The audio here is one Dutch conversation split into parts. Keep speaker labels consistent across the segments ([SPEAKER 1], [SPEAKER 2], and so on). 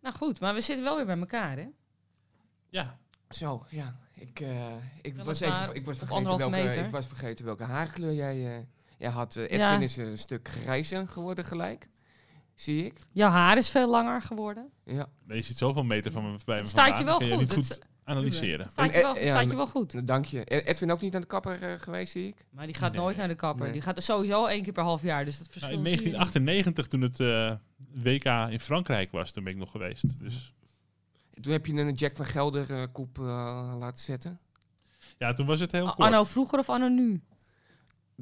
[SPEAKER 1] Nou goed, maar we zitten wel weer bij elkaar, hè?
[SPEAKER 2] Ja,
[SPEAKER 3] Zo, ja. Ik, eh, ik,
[SPEAKER 1] Weliswaar
[SPEAKER 3] was even, ik, was
[SPEAKER 1] op
[SPEAKER 3] vergeten
[SPEAKER 1] anderhalve
[SPEAKER 3] welke,
[SPEAKER 1] meter.
[SPEAKER 3] ik was vergeten welke haarkleur jij, eh, jij had. Eh, Edwin
[SPEAKER 1] Ja.
[SPEAKER 3] is een stuk grijzer geworden gelijk. Zie ik.
[SPEAKER 1] Jouw haar is veel langer geworden.
[SPEAKER 3] Ja.
[SPEAKER 2] je ziet zoveel meter van me bij me
[SPEAKER 1] Het staat je
[SPEAKER 2] vandaan,
[SPEAKER 1] wel
[SPEAKER 2] kan niet
[SPEAKER 1] goed.
[SPEAKER 2] goed
[SPEAKER 1] Het
[SPEAKER 2] analyseren.
[SPEAKER 1] Staat
[SPEAKER 3] En,
[SPEAKER 1] je wel,
[SPEAKER 3] eh, ja,
[SPEAKER 1] staat je
[SPEAKER 3] maar-
[SPEAKER 1] wel goed.
[SPEAKER 3] Nou, Dank je. E- Edwin ook niet aan de kapper eh, geweest, zie ik.
[SPEAKER 1] Maar die gaat
[SPEAKER 2] Nee.
[SPEAKER 1] nooit naar de kapper.
[SPEAKER 3] Nee.
[SPEAKER 1] Die gaat er sowieso één keer per half jaar. Dus dat verschil
[SPEAKER 2] Nou, in
[SPEAKER 1] zie je niet.
[SPEAKER 2] 1998, toen het eh, WK in Frankrijk was, toen ben ik nog geweest. Dus,
[SPEAKER 3] Toen heb je een Jack van Gelder eh, koep eh, laten zetten.
[SPEAKER 2] ja, toen was het heel
[SPEAKER 1] A-
[SPEAKER 2] kort.
[SPEAKER 1] Anno vroeger of anno nu?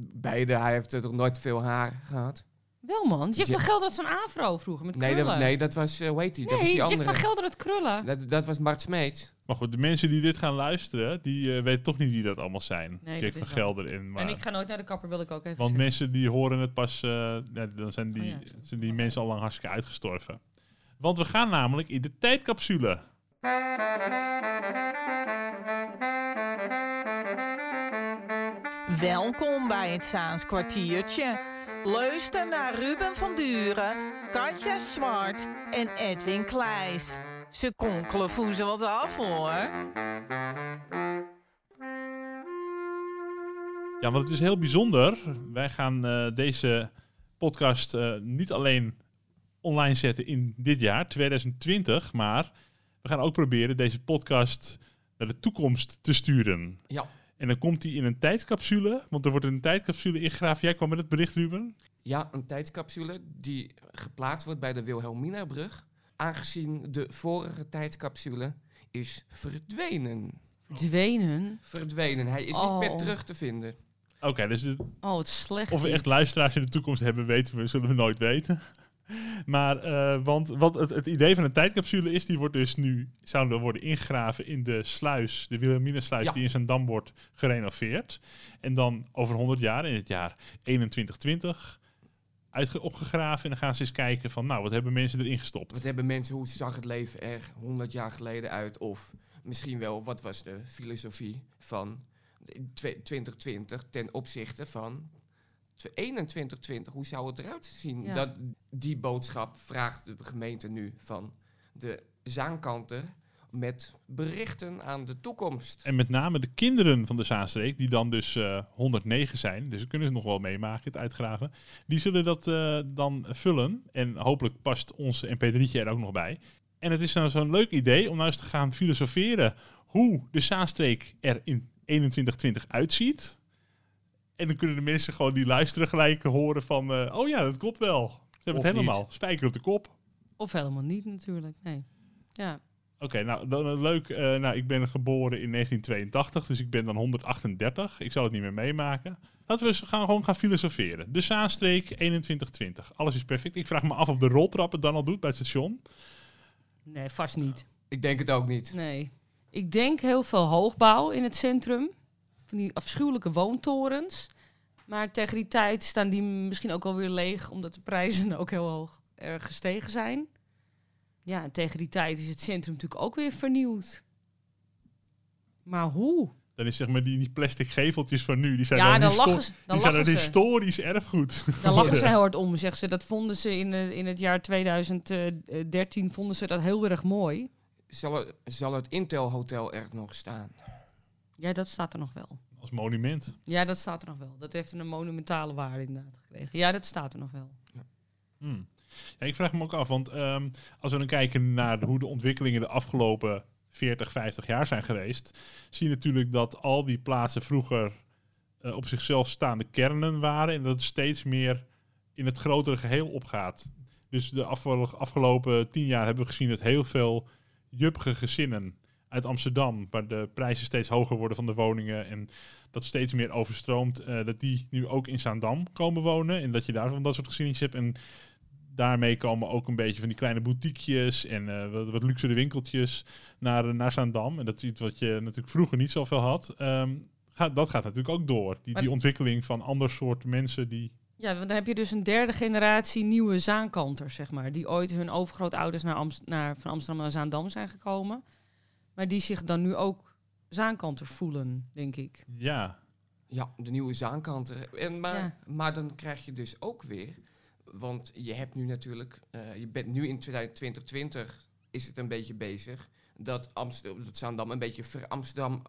[SPEAKER 3] Beide, hij heeft eh, toch nooit veel haar gehad.
[SPEAKER 1] Wel man. Jack
[SPEAKER 3] Ja.
[SPEAKER 1] van Gelder had zo'n afro vroeger met
[SPEAKER 3] Nee
[SPEAKER 1] krullen.
[SPEAKER 3] dat, nee, dat was, eh hoe heet die? dat was
[SPEAKER 1] Nee,
[SPEAKER 3] die
[SPEAKER 1] Jack van
[SPEAKER 3] andere.
[SPEAKER 1] Gelder had krullen.
[SPEAKER 3] Dat, dat was Mart Smeets.
[SPEAKER 2] Maar goed, de mensen die dit gaan luisteren, die eh, weten toch niet wie dat allemaal zijn.
[SPEAKER 1] Nee,
[SPEAKER 2] Jack
[SPEAKER 1] dat
[SPEAKER 2] van
[SPEAKER 1] is wel-
[SPEAKER 2] Gelder in. Maar,
[SPEAKER 1] En ik ga nooit naar de kapper, wil ik ook even
[SPEAKER 2] want
[SPEAKER 1] zeggen.
[SPEAKER 2] mensen die horen het pas, eh, ja, dan zijn die,
[SPEAKER 1] Oh ja, dat is-
[SPEAKER 2] zijn die mensen al lang hartstikke uitgestorven. Want we gaan namelijk in de tijdcapsule.
[SPEAKER 4] Welkom bij het Zaans kwartiertje. Luister naar Ruben van Duren, Katja Zwart en Edwin Kleijs. Ze konkelen voor ze wat af hoor.
[SPEAKER 2] Ja, want het is heel bijzonder. Wij gaan eh, deze podcast eh, niet alleen online zetten in dit jaar, 2020, maar we gaan ook proberen deze podcast naar de toekomst te sturen.
[SPEAKER 3] Ja.
[SPEAKER 2] En dan komt hij in een tijdcapsule, want er wordt een tijdcapsule ingegraven. Jij kwam met het bericht, Ruben.
[SPEAKER 3] Ja, een tijdscapsule die geplaatst wordt bij de Wilhelminabrug. Aangezien de vorige tijdscapsule is verdwenen.
[SPEAKER 1] Dwenen.
[SPEAKER 3] Verdwenen. Hij is
[SPEAKER 1] Oh.
[SPEAKER 3] niet meer terug te vinden.
[SPEAKER 2] Oké, dus het-
[SPEAKER 1] Oh, het is slecht.
[SPEAKER 2] of we echt
[SPEAKER 1] dit.
[SPEAKER 2] luisteraars in de toekomst hebben, weten we, zullen we nooit weten. Maar eh, want wat het, het idee van een tijdcapsule is, die wordt dus nu, zouden worden ingegraven in de sluis, de Wilhelminasluis,
[SPEAKER 3] Ja.
[SPEAKER 2] die in zijn dam wordt gerenoveerd. En dan over 100 jaar, in het jaar 2120, uitge- opgegraven. En dan gaan ze eens kijken van, nou, wat hebben mensen erin
[SPEAKER 3] Wat
[SPEAKER 2] gestopt?
[SPEAKER 3] hebben mensen, hoe zag het leven er 100 jaar geleden uit? Of misschien wel, wat was de filosofie van de twe- 2020 ten opzichte van tw- 2120? Hoe zou het eruit zien?
[SPEAKER 1] Ja.
[SPEAKER 3] Dat, die boodschap vraagt de gemeente nu van de zaankanten met berichten aan de toekomst.
[SPEAKER 2] En met name de kinderen van de Zaanstreek, die dan dus eh, 109 zijn, dus ze kunnen ze nog wel meemaken, het uitgraven, die zullen dat eh, dan vullen. En hopelijk past ons MP3'tje er ook nog bij. En het is nou zo'n leuk idee om nou eens te gaan filosoferen hoe de Zaanstreek er in 2120 uitziet. En dan kunnen de mensen gewoon die luisteren gelijk horen van, eh, oh ja, dat klopt wel. Ze hebben
[SPEAKER 3] Of
[SPEAKER 2] het
[SPEAKER 3] niet.
[SPEAKER 2] helemaal. Spijker op de kop.
[SPEAKER 1] Of helemaal niet natuurlijk, nee. Ja,
[SPEAKER 2] Oké, nou dan eh, leuk. Eh, nou, ik ben geboren in 1982, dus ik ben dan 138. Ik zal het niet meer meemaken. Laten we eens gaan, gewoon gaan filosoferen. De Zaanstreek 2120. Alles is perfect. Ik vraag me af of de roltrap het dan al doet bij het station.
[SPEAKER 1] nee, vast niet.
[SPEAKER 3] Ik denk het ook niet.
[SPEAKER 1] Nee. Ik denk heel veel hoogbouw in het centrum. Van die afschuwelijke woontorens. Maar tegen die tijd staan die misschien ook alweer leeg, omdat de prijzen ook heel hoog erg gestegen zijn. Ja, en tegen die tijd is het centrum natuurlijk ook weer vernieuwd. Maar hoe?
[SPEAKER 2] Dan is zeg maar die, die plastic geveltjes van nu, die zijn
[SPEAKER 1] ja,
[SPEAKER 2] dan,
[SPEAKER 1] dan
[SPEAKER 2] histo-
[SPEAKER 1] lachen ze. Dan
[SPEAKER 2] die zijn
[SPEAKER 1] lachen
[SPEAKER 2] een
[SPEAKER 1] ze.
[SPEAKER 2] historisch erfgoed.
[SPEAKER 1] Dan lachen ze
[SPEAKER 2] geworden.
[SPEAKER 1] heel hard om, zegt ze. Dat vonden ze in, eh, in het jaar 2013 vonden ze dat heel erg mooi.
[SPEAKER 3] Zal, het- zal het Intel Hotel er nog staan?
[SPEAKER 1] Ja, dat staat er nog wel.
[SPEAKER 2] Als monument.
[SPEAKER 1] Ja, dat staat er nog wel. Dat heeft een monumentale waarde inderdaad gekregen. Ja, dat staat er nog wel.
[SPEAKER 2] Hmm. Ja, ik vraag me ook af, want ehm, als we dan kijken naar de- hoe de ontwikkelingen de afgelopen 40, 50 jaar zijn geweest, zie je natuurlijk dat al die plaatsen vroeger eh, op zichzelf staande kernen waren en dat het steeds meer in het grotere geheel opgaat. Dus de afge- afgelopen 10 jaar hebben we gezien dat heel veel juppige gezinnen uit Amsterdam, waar de prijzen steeds hoger worden van de woningen en dat steeds meer overstroomt, eh, dat die nu ook in Zaandam komen wonen en dat je daarvan dat soort gezinnetjes hebt. En daarmee komen ook een beetje van die kleine boutiquejes en eh, wat, wat luxere winkeltjes naar, eh, naar Zaandam. En dat is iets wat je natuurlijk vroeger niet zoveel had. Ehm, gaat, dat gaat natuurlijk ook door. Die,
[SPEAKER 1] Maar-
[SPEAKER 2] die ontwikkeling van ander soort mensen die...
[SPEAKER 1] Ja, want dan heb je dus een derde generatie nieuwe zaankanters, zeg maar. Die ooit hun overgrootouders naar Amst- naar, van Amsterdam naar Zaandam zijn gekomen. Maar die zich dan nu ook zaankanter voelen, denk ik.
[SPEAKER 2] Ja,
[SPEAKER 3] Ja, de nieuwe zaankanten. En maar,
[SPEAKER 1] Ja.
[SPEAKER 3] maar dan krijg je dus ook weer, want je hebt nu natuurlijk, eh, je bent nu in 2020 is het een beetje bezig. Dat, Amsterdam, dat Zaandam een beetje ver-Amsterdam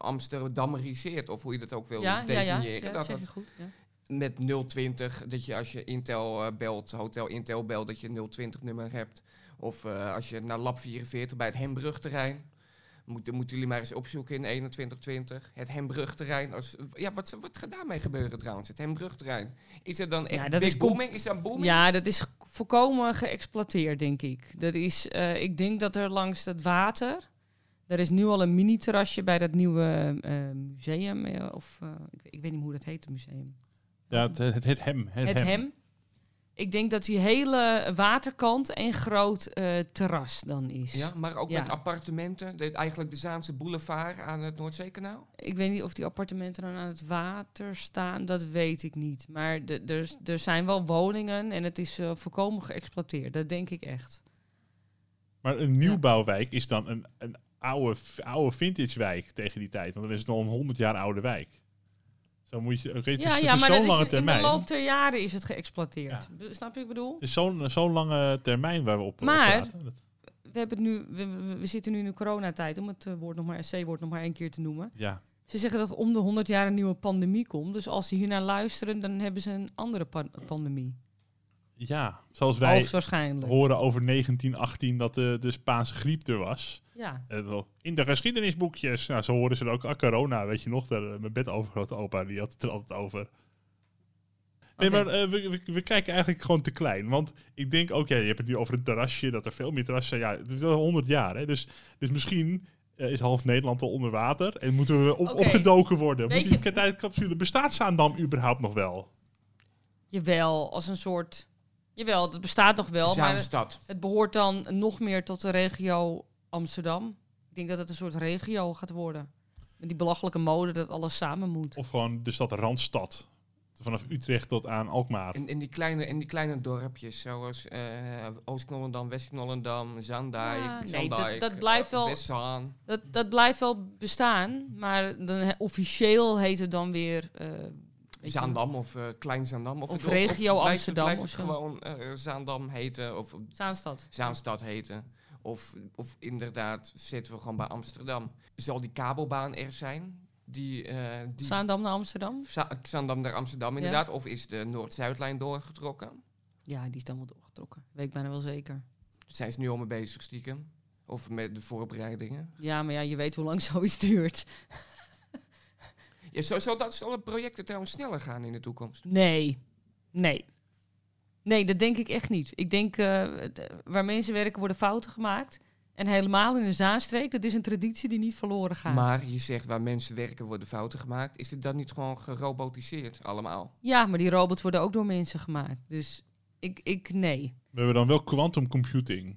[SPEAKER 3] Amsterdameriseert. Of hoe je dat ook wil
[SPEAKER 1] ja, ja,
[SPEAKER 3] definiëren.
[SPEAKER 1] ja, ja, dat
[SPEAKER 3] dat
[SPEAKER 1] zeg
[SPEAKER 3] het
[SPEAKER 1] je goed. Ja.
[SPEAKER 3] met 020, dat je als je Intel eh, belt, hotel Intel belt, dat je een 020-nummer hebt. Of eh, als je naar Lab 44 bij het Hembrugterrein. Moeten, moeten jullie maar eens opzoeken in 2120. Het Hembrugterrein. Als, ja, wat, wat gaat daarmee gebeuren trouwens? Het Hembrugterrein. Is er dan echt
[SPEAKER 1] Ja,
[SPEAKER 3] ja,
[SPEAKER 1] dat is com-
[SPEAKER 3] booming? Is dat booming?
[SPEAKER 1] Ja, dat is volkomen geëxploiteerd, denk ik. Dat is, eh, ik denk dat er langs dat water. Er is nu al een mini-terrasje bij dat nieuwe eh, museum. eh, of eh, ik, ik weet niet meer hoe dat heet, het museum.
[SPEAKER 2] Ja, het, het, het hem. Het,
[SPEAKER 1] Het hem. Ik denk dat die hele waterkant een groot eh, terras dan is.
[SPEAKER 3] Ja, maar ook
[SPEAKER 1] Ja.
[SPEAKER 3] met appartementen. De, eigenlijk de Zaanse boulevard aan het Noordzeekanaal.
[SPEAKER 1] Ik weet niet of die appartementen dan aan het water staan, dat weet ik niet. Maar de- er s- er zijn wel woningen en het is eh, volkomen geëxploiteerd. Dat denk ik echt.
[SPEAKER 2] Maar een nieuwbouwwijk is dan een, een oude, oude vintage wijk tegen die tijd. Want dan is het al een 100 jaar oude wijk. Zo moet je. Oké, het is,
[SPEAKER 1] ja,
[SPEAKER 2] het
[SPEAKER 1] ja,
[SPEAKER 2] is
[SPEAKER 1] maar dat
[SPEAKER 2] zo'n
[SPEAKER 1] is
[SPEAKER 2] lange
[SPEAKER 1] in, in de
[SPEAKER 2] termijn.
[SPEAKER 1] loop der jaren is het geëxploiteerd.
[SPEAKER 2] Ja.
[SPEAKER 1] Be- Snap je wat ik bedoel?
[SPEAKER 2] Het is zo'n zo'n lange termijn waar we op op
[SPEAKER 1] Maar-
[SPEAKER 2] praten. Dat-
[SPEAKER 1] We, hebben het nu, we, we- we zitten nu in de coronatijd, om het eh, woord nog maar, C-woord nog maar één keer te noemen.
[SPEAKER 2] ja.
[SPEAKER 1] Ze zeggen dat om de 100 jaar een nieuwe pandemie komt. Dus als ze hiernaar luisteren, dan hebben ze een andere pan- pandemie.
[SPEAKER 2] ja, zoals wij
[SPEAKER 1] Hoogstwaarschijnlijk.
[SPEAKER 2] horen over 1918 dat de, de Spaanse griep er was.
[SPEAKER 1] Ja.
[SPEAKER 2] Eh, wel, In de geschiedenisboekjes. Nou, zo horen ze er ook. Ah, corona, weet je nog. Daar, eh, mijn bedovergrote opa, die had het er altijd over.
[SPEAKER 1] Oké.
[SPEAKER 2] Nee, maar eh, we, we, we kijken eigenlijk gewoon te klein. Want ik denk, oké, je hebt het nu over het terrasje, dat er veel meer terrassen zijn. Ja, het is al 100 jaar, hè. Dus, dus misschien eh, is half Nederland al onder water en moeten we op,
[SPEAKER 1] Oké.
[SPEAKER 2] opgedoken worden.
[SPEAKER 1] Weet
[SPEAKER 2] Moet die
[SPEAKER 1] je-
[SPEAKER 2] tijdcapsule, bestaat Zaandam überhaupt nog wel?
[SPEAKER 1] Jawel, als een soort... Jawel, dat bestaat nog wel, maar...
[SPEAKER 3] Zaanstad.
[SPEAKER 1] Het behoort dan nog meer tot de regio Amsterdam. Ik denk dat het een soort regio gaat worden. Met die belachelijke mode dat alles samen moet.
[SPEAKER 2] Of gewoon de stad Randstad? Vanaf Utrecht tot aan Alkmaar.
[SPEAKER 3] In, in, die kleine, in die kleine dorpjes, zoals eh Oost-Knollendam, West-Knollendam, Zaandijk,
[SPEAKER 1] Ja, nee,
[SPEAKER 3] Zaandijk,
[SPEAKER 1] dat- dat blijft
[SPEAKER 3] eh,
[SPEAKER 1] wel-
[SPEAKER 3] Westzaan.
[SPEAKER 1] Dat, dat blijft wel bestaan, maar dan, he- officieel heet het dan weer... eh, weet je-
[SPEAKER 3] Zaandam of eh, Klein Zaandam. Of,
[SPEAKER 1] Of
[SPEAKER 3] het-
[SPEAKER 1] regio
[SPEAKER 3] blijft het-
[SPEAKER 1] Amsterdam
[SPEAKER 3] Blijft
[SPEAKER 1] of
[SPEAKER 3] het
[SPEAKER 1] zo.
[SPEAKER 3] gewoon eh, Zaandam heten of
[SPEAKER 1] Zaanstad.
[SPEAKER 3] Zaanstad heten. Of, of inderdaad zitten we gewoon bij Amsterdam. Zal die kabelbaan er zijn? Die, eh, die
[SPEAKER 1] Zaandam naar Amsterdam?
[SPEAKER 3] Za- Zaandam naar Amsterdam inderdaad. Of is de Noord-Zuidlijn doorgetrokken?
[SPEAKER 1] Ja, die is dan wel doorgetrokken. Weet ik bijna wel zeker.
[SPEAKER 3] Zijn ze nu al mee bezig stiekem? Of met de voorbereidingen?
[SPEAKER 1] Ja, maar ja, je weet hoe lang zoiets duurt.
[SPEAKER 3] Ja, zo, zal dat zal het projecten trouwens sneller gaan in de toekomst?
[SPEAKER 1] Nee, nee. Nee, dat denk ik echt niet. Ik denk, eh, d- waar mensen werken worden fouten gemaakt. En helemaal in de Zaanstreek, dat is een traditie die niet verloren gaat.
[SPEAKER 3] Maar je zegt waar mensen werken worden fouten gemaakt. Is het dan niet gewoon gerobotiseerd allemaal?
[SPEAKER 1] Ja, maar die robots worden ook door mensen gemaakt. Dus ik, ik nee.
[SPEAKER 2] We hebben dan wel quantum computing.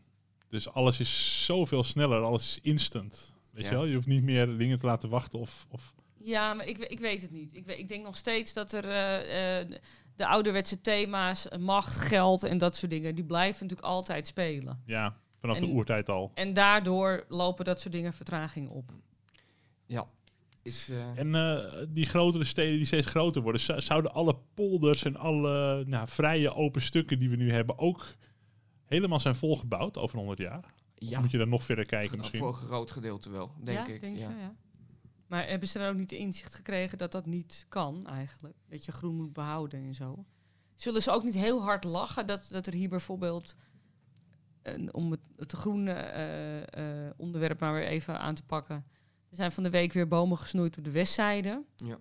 [SPEAKER 2] Dus alles is zoveel sneller, alles is instant. Weet
[SPEAKER 3] Ja.
[SPEAKER 2] je wel? Je hoeft niet meer dingen te laten wachten of... of
[SPEAKER 1] Ja, maar ik, we- ik weet het niet. Ik, we- ik denk nog steeds dat er eh, eh, de ouderwetse thema's, eh, macht, geld en dat soort dingen, die blijven natuurlijk altijd spelen.
[SPEAKER 2] ja, vanaf de
[SPEAKER 1] En-
[SPEAKER 2] oertijd al.
[SPEAKER 1] En daardoor lopen dat soort dingen vertraging op.
[SPEAKER 3] Ja. Is, eh,
[SPEAKER 2] En eh, die grotere steden die steeds groter worden, zo- zouden alle polders en alle nou, vrije open stukken die we nu hebben ook helemaal zijn volgebouwd over 100 jaar?
[SPEAKER 3] ja,
[SPEAKER 2] Of moet je dan nog verder kijken
[SPEAKER 3] Nou,
[SPEAKER 2] misschien?
[SPEAKER 3] Voor een groot gedeelte wel, denk
[SPEAKER 1] ja,
[SPEAKER 3] ik.
[SPEAKER 1] Denk
[SPEAKER 3] ja.
[SPEAKER 1] Je, ja. Maar hebben ze dan ook niet de inzicht gekregen dat dat niet kan eigenlijk? Dat je groen moet behouden en zo. Zullen ze ook niet heel hard lachen dat, dat er hier bijvoorbeeld, eh, om het, het groene eh, eh, onderwerp maar weer even aan te pakken. Er zijn van de week weer bomen gesnoeid op de westzijde.
[SPEAKER 3] Ja.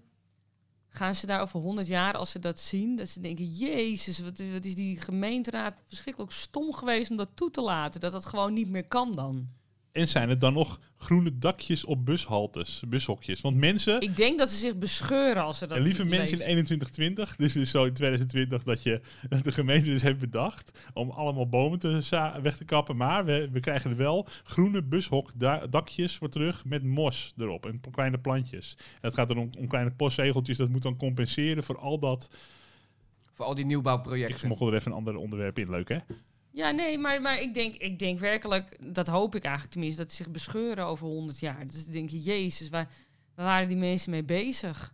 [SPEAKER 1] Gaan ze daar over honderd jaar, als ze dat zien, dat ze denken... Jezus, wat, is- wat is die gemeenteraad verschrikkelijk stom geweest om dat toe te laten. Dat dat gewoon niet meer kan dan.
[SPEAKER 2] En zijn het dan nog groene dakjes op bushaltes, bushokjes? Want mensen,
[SPEAKER 1] Ik denk dat ze zich bescheuren als ze dat
[SPEAKER 2] en lieve mensen in
[SPEAKER 1] lezen.
[SPEAKER 2] 2120, dus dus zo in 2020 dat, je, dat de gemeente dus heeft bedacht om allemaal bomen te za- weg te kappen, maar we, we krijgen er wel groene bushokdakjes voor terug met mos erop en p- kleine plantjes. En het gaat dan om, om kleine postzegeltjes, dat moet dan compenseren voor al dat.
[SPEAKER 3] Voor al die
[SPEAKER 2] Ik
[SPEAKER 3] nieuwbouwprojecten.
[SPEAKER 2] smokkelde er even een ander onderwerp in, leuk hè?
[SPEAKER 1] Ja, nee, maar, maar ik, denk, ik denk werkelijk, dat hoop ik eigenlijk tenminste, dat ze zich bescheuren over 100 jaar. Dus dan denk je, jezus, waar, waar waren die mensen mee bezig?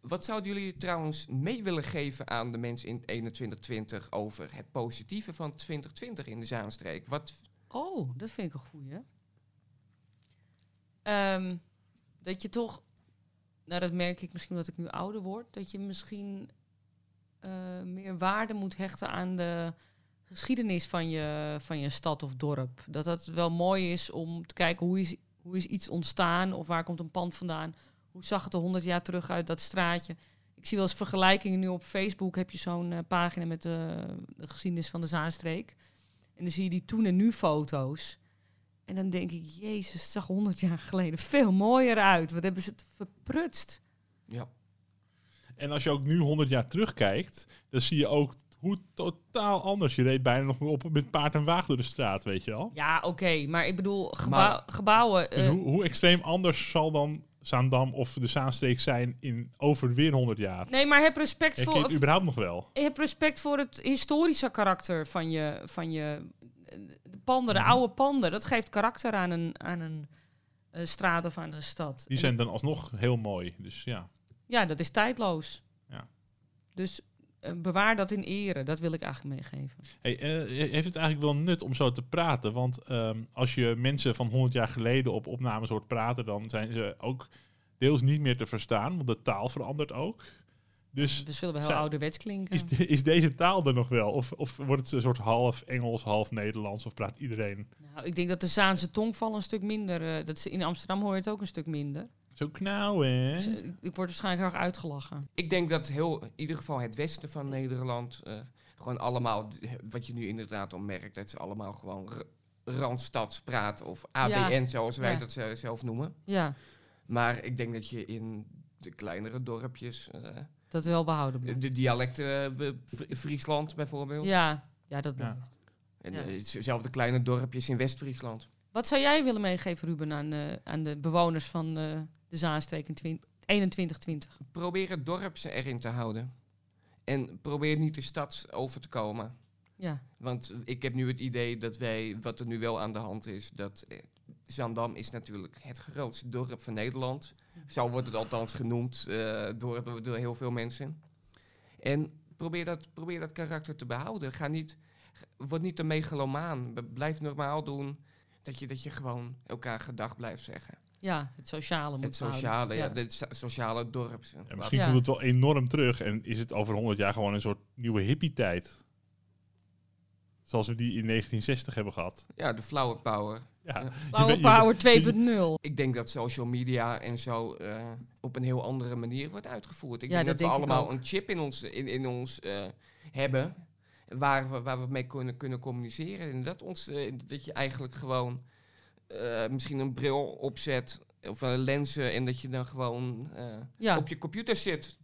[SPEAKER 3] Wat zouden jullie trouwens mee willen geven aan de mensen in 2120 over het positieve van 2020 in de Zaanstreek? Wat,
[SPEAKER 1] Oh, dat vind ik een goeie. Ehm, dat je toch, nou dat merk ik misschien omdat ik nu ouder word, dat je misschien eh, meer waarde moet hechten aan de geschiedenis van je, van je stad of dorp. Dat dat wel mooi is om te kijken hoe is, hoe is iets ontstaan of waar komt een pand vandaan. Hoe zag het er honderd jaar terug uit, dat straatje. Ik zie wel eens vergelijkingen nu op Facebook. Heb je zo'n eh, pagina met eh, de geschiedenis van de Zaanstreek. En dan zie je die toen en nu foto's. En dan denk ik, jezus, het zag honderd jaar geleden veel mooier uit. Wat hebben ze het verprutst.
[SPEAKER 3] Ja.
[SPEAKER 2] En als je ook nu 100 jaar terugkijkt, dan zie je ook hoe totaal anders. Je reed bijna nog op met paard en waag door de straat, weet je wel.
[SPEAKER 1] Ja, oké, maar ik bedoel, gebouw-
[SPEAKER 3] Maar-
[SPEAKER 1] gebouwen...
[SPEAKER 2] Dus
[SPEAKER 1] eh,
[SPEAKER 2] hoe, hoe extreem anders zal dan Zaandam of de Zaanstreek zijn in over weer 100 jaar?
[SPEAKER 1] nee, maar heb respect
[SPEAKER 2] Herken je
[SPEAKER 1] voor...
[SPEAKER 2] het überhaupt nog wel?
[SPEAKER 1] Ik heb respect voor het historische karakter van je, van je eh, de panden, de
[SPEAKER 2] Mhm.
[SPEAKER 1] oude panden. Dat geeft karakter aan een, aan een eh, straat of aan een stad.
[SPEAKER 2] Die
[SPEAKER 1] En
[SPEAKER 2] zijn dan alsnog heel mooi. Dus ja.
[SPEAKER 1] Ja, dat is tijdloos.
[SPEAKER 2] Ja.
[SPEAKER 1] Dus eh, bewaar dat in ere. Dat wil ik eigenlijk meegeven.
[SPEAKER 2] Hey, eh, heeft het eigenlijk wel nut om zo te praten? Want ehm, als je mensen van 100 jaar geleden op opnames hoort praten, dan zijn ze ook deels niet meer te verstaan, want de taal verandert ook. Dus
[SPEAKER 1] Dus zullen we heel
[SPEAKER 2] Zij-
[SPEAKER 1] ouderwets klinken.
[SPEAKER 2] is, de- is deze taal er nog wel? Of, of wordt het een soort half Engels, half Nederlands? Of praat iedereen
[SPEAKER 1] Nou, ik denk dat de Zaanse tongval een stuk minder... eh, dat ze, in Amsterdam hoor je het ook een stuk minder.
[SPEAKER 2] zo knauw, hè?
[SPEAKER 1] Dus, eh, ik word waarschijnlijk heel erg uitgelachen.
[SPEAKER 3] Ik denk dat heel, in ieder geval het westen van Nederland, eh, gewoon allemaal, d- wat je nu inderdaad al merkt, dat ze allemaal gewoon r- Randstads praten of ABN zoals wij
[SPEAKER 1] Ja.
[SPEAKER 3] dat ze- zelf noemen.
[SPEAKER 1] Ja,
[SPEAKER 3] Maar ik denk dat je in de kleinere dorpjes, eh,
[SPEAKER 1] dat wel behouden blijft.
[SPEAKER 3] de dialecten, eh, be- Fri- Friesland bijvoorbeeld,
[SPEAKER 1] Ja, ja, dat blijft.
[SPEAKER 3] en
[SPEAKER 1] Ja.
[SPEAKER 3] eh, z- zelfde kleine dorpjes in West-Friesland.
[SPEAKER 1] Wat zou jij willen meegeven, Ruben, aan de, aan de bewoners van eh, de Zaanstreek in 20 2120?
[SPEAKER 3] Probeer het dorp ze erin te houden. En probeer niet de stad over te komen.
[SPEAKER 1] Ja,
[SPEAKER 3] Want ik heb nu het idee dat wij, wat er nu wel aan de hand is, dat eh, Zaandam is natuurlijk het grootste dorp van Nederland. Zo wordt het althans genoemd eh, door, door, door heel veel mensen. En probeer dat, probeer dat karakter te behouden. Ga niet, word niet een megalomaan. B- Blijf normaal doen. Dat je, dat je gewoon elkaar gedag blijft zeggen.
[SPEAKER 1] ja het sociale moet
[SPEAKER 3] Het sociale, ja,
[SPEAKER 1] behouden.
[SPEAKER 3] het so- sociale dorp.
[SPEAKER 2] En misschien
[SPEAKER 1] Ja.
[SPEAKER 2] komt het wel enorm terug en is het over 100 jaar gewoon een soort nieuwe hippie-tijd. Zoals we die in 1960 hebben gehad.
[SPEAKER 3] Ja, de flower power.
[SPEAKER 2] Ja,
[SPEAKER 3] Ja.
[SPEAKER 2] je
[SPEAKER 1] Flower
[SPEAKER 2] weet- je-
[SPEAKER 1] Power
[SPEAKER 2] je-
[SPEAKER 1] 2.0.
[SPEAKER 3] ik denk dat social media en zo eh, op een heel andere manier wordt uitgevoerd. Ik
[SPEAKER 1] Ja,
[SPEAKER 3] denk
[SPEAKER 1] dat
[SPEAKER 3] dat,
[SPEAKER 1] denk
[SPEAKER 3] we
[SPEAKER 1] ik
[SPEAKER 3] allemaal
[SPEAKER 1] ook.
[SPEAKER 3] een chip in ons, in, in ons eh, hebben. Waar we, waar we mee kunnen, kunnen communiceren. En dat, ons, eh, dat je eigenlijk gewoon eh, misschien een bril opzet of een lenzen. En dat je dan gewoon eh,
[SPEAKER 1] Ja.
[SPEAKER 3] op je computer zit.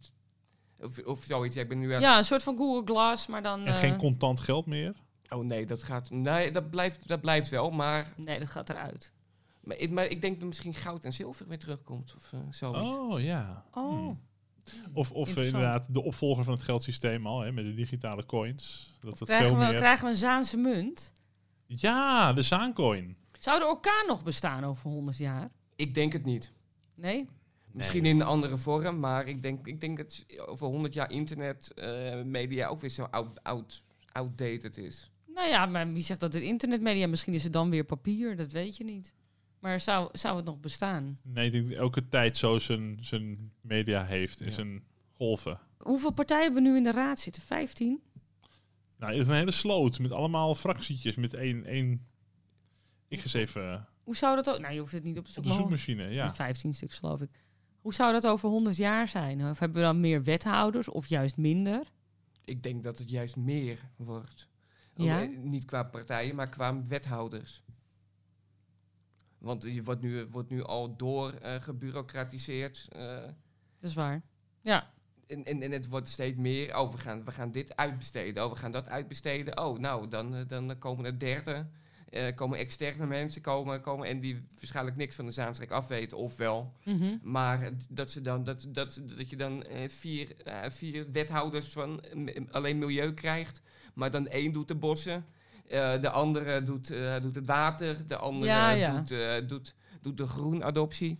[SPEAKER 3] Of, of zoiets. Ik ben nu aan
[SPEAKER 1] ja, een soort van Google Glass, maar dan...
[SPEAKER 2] En
[SPEAKER 1] eh,
[SPEAKER 2] geen contant geld meer.
[SPEAKER 3] Oh nee, dat gaat. Nee, dat blijft, dat blijft wel. Maar,
[SPEAKER 1] Nee, dat gaat eruit.
[SPEAKER 3] maar, ik, maar ik denk dat misschien goud en zilver weer terugkomt. Of eh, zoiets.
[SPEAKER 2] Oh ja.
[SPEAKER 1] Oh.
[SPEAKER 2] Hmm. Of, of
[SPEAKER 1] Interessant.
[SPEAKER 2] inderdaad de opvolger van het geldsysteem al, hè, met de digitale coins. Dat dat veel
[SPEAKER 1] Krijgen we,
[SPEAKER 2] meer...
[SPEAKER 1] krijgen we een Zaanse munt?
[SPEAKER 2] Ja, de Zaancoin.
[SPEAKER 1] Zou de orkaan nog bestaan over 100 jaar?
[SPEAKER 3] Ik denk het niet.
[SPEAKER 1] Nee?
[SPEAKER 3] Misschien in een andere vorm, maar ik denk, ik denk dat over 100 jaar internet eh, media ook weer zo out, out, outdated is.
[SPEAKER 1] Nou ja, maar wie zegt dat het internetmedia... Misschien is het dan weer papier, dat weet je niet. Maar zou, zou het nog bestaan?
[SPEAKER 2] Nee, ik denk dat elke tijd zo zijn, zijn media heeft en
[SPEAKER 3] Ja.
[SPEAKER 2] zijn golven.
[SPEAKER 1] Hoeveel partijen hebben we nu in de raad zitten? 15?
[SPEAKER 2] Nou, het is een hele sloot met allemaal fractietjes met één... één... Ik ga eens even
[SPEAKER 1] Hoe zou dat ook... Nou, je hoeft het niet op de
[SPEAKER 2] op de
[SPEAKER 1] zoekmachine.
[SPEAKER 2] zoekmachine, ja.
[SPEAKER 1] Met 15 stuks, geloof ik. Hoe zou dat over 100 jaar zijn? Of hebben we dan meer wethouders of juist minder?
[SPEAKER 3] Ik denk dat het juist meer wordt.
[SPEAKER 1] Ja?
[SPEAKER 3] Eh, Niet qua partijen, maar qua wethouders. Want je wordt nu, wordt nu al door eh, gebureaucratiseerd. eh,
[SPEAKER 1] Dat is waar.
[SPEAKER 3] en, en, en het wordt steeds meer, oh, we gaan, we gaan dit uitbesteden, oh, we gaan dat uitbesteden. Oh, nou, dan, eh, dan komen er derde, eh, komen externe mensen komen, komen en die waarschijnlijk niks van de Zaanstreek afweten, of wel.
[SPEAKER 1] Mhm.
[SPEAKER 3] Maar het- dat, ze dan, dat, dat, dat je dan eh, vier, eh, vier wethouders van eh, m- alleen milieu krijgt, maar dan één doet de bossen, eh, de andere doet, eh, doet het water, de andere
[SPEAKER 1] Ja, ja.
[SPEAKER 3] Doet, eh, doet, doet de groenadoptie.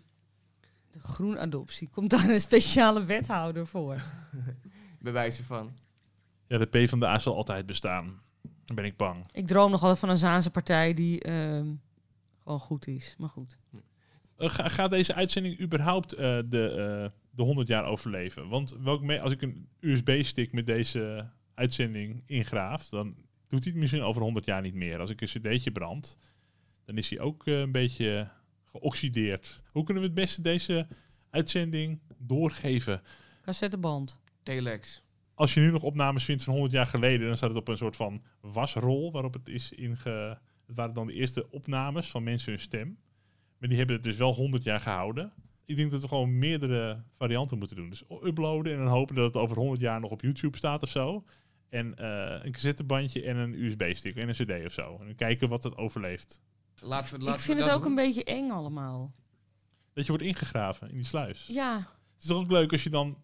[SPEAKER 1] De groenadoptie. Komt daar een speciale wethouder voor?
[SPEAKER 3] Bij wijze van.
[SPEAKER 2] Ja, de P van de A zal altijd bestaan. Dan ben ik bang.
[SPEAKER 1] Ik droom nog altijd van een Zaanse partij die ehm, gewoon goed is. Maar goed.
[SPEAKER 2] Eh, ga- gaat deze uitzending überhaupt eh, de, eh, de 100 jaar overleven? Want welk me- als ik een USB-stick met deze uitzending ingraaf, dan doet hij het misschien over 100 jaar niet meer. Als ik een cd'tje brand, dan is hij ook eh, een beetje geoxideerd. Hoe kunnen we het beste deze uitzending doorgeven?
[SPEAKER 1] Cassetteband.
[SPEAKER 3] Telex.
[SPEAKER 2] Als je nu nog opnames vindt van 100 jaar geleden, dan staat het op een soort van wasrol waarop het is inge... Het waren dan de eerste opnames van mensen hun stem. Maar die hebben het dus wel 100 jaar gehouden. Ik denk dat we gewoon meerdere varianten moeten doen. Dus uploaden en dan hopen dat het over 100 jaar nog op YouTube staat of zo. En eh, een cassettebandje en een USB-stick en een CD of zo. En dan kijken wat het overleeft.
[SPEAKER 3] Laten we, laten
[SPEAKER 1] Ik vind
[SPEAKER 3] we
[SPEAKER 1] het
[SPEAKER 3] dat
[SPEAKER 1] ook
[SPEAKER 3] doen.
[SPEAKER 1] een beetje eng allemaal.
[SPEAKER 2] Dat je wordt ingegraven in die sluis.
[SPEAKER 1] Ja,
[SPEAKER 2] Het is toch ook leuk als je dan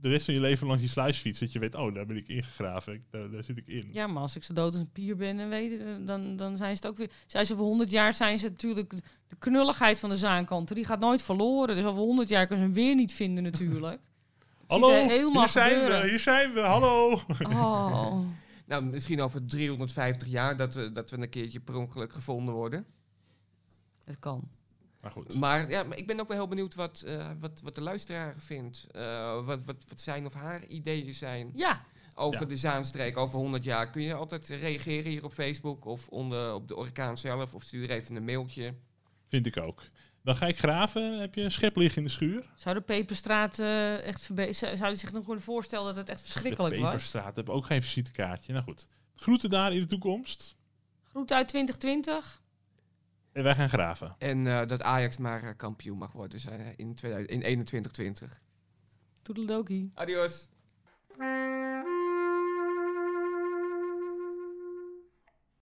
[SPEAKER 2] de rest van je leven langs die sluis fietst. Dat je weet, oh, daar ben ik ingegraven. Ik- Daar, daar zit ik in.
[SPEAKER 1] ja, maar als ik zo dood als een pier ben, dan, weet, eh, dan, dan zijn ze het ook weer... Zijn ze voor 100 jaar zijn ze natuurlijk... De knulligheid van de zaankanten, die gaat nooit verloren. Dus over 100 jaar kunnen ze hem weer niet vinden natuurlijk. Ik zie
[SPEAKER 2] Hallo,
[SPEAKER 1] het helemaal
[SPEAKER 2] hier zijn
[SPEAKER 1] gebeuren.
[SPEAKER 2] we, hier zijn we, hallo.
[SPEAKER 1] Oh,
[SPEAKER 3] Nou, misschien over 350 jaar dat we, dat we een keertje per ongeluk gevonden worden.
[SPEAKER 1] dat kan.
[SPEAKER 2] Maar goed,
[SPEAKER 3] Maar, ja, maar ik ben ook wel heel benieuwd wat, eh, wat, wat de luisteraar vindt. Eh, wat, wat, wat zijn of haar ideeën zijn
[SPEAKER 1] Ja,
[SPEAKER 3] over
[SPEAKER 2] Ja.
[SPEAKER 3] de Zaanstreek over 100 jaar. Kun je altijd reageren hier op Facebook of onder, op de orkaan zelf. Of stuur even een mailtje.
[SPEAKER 2] vind ik ook. Dan ga ik graven, heb je een schep liggen in de schuur?
[SPEAKER 1] zou de Peperstraat eh, echt verbeteren? Zou zou je zich nog kunnen voorstellen dat het echt verschrikkelijk
[SPEAKER 2] de
[SPEAKER 1] was?
[SPEAKER 2] Peperstraat, heb ook geen visitekaartje. Nou goed, groeten daar in de toekomst.
[SPEAKER 1] Groet uit 2020.
[SPEAKER 2] En wij gaan graven.
[SPEAKER 3] En eh, dat Ajax maar eh, kampioen mag worden zijn in 2021.
[SPEAKER 1] Toedeledokie.
[SPEAKER 3] Adios.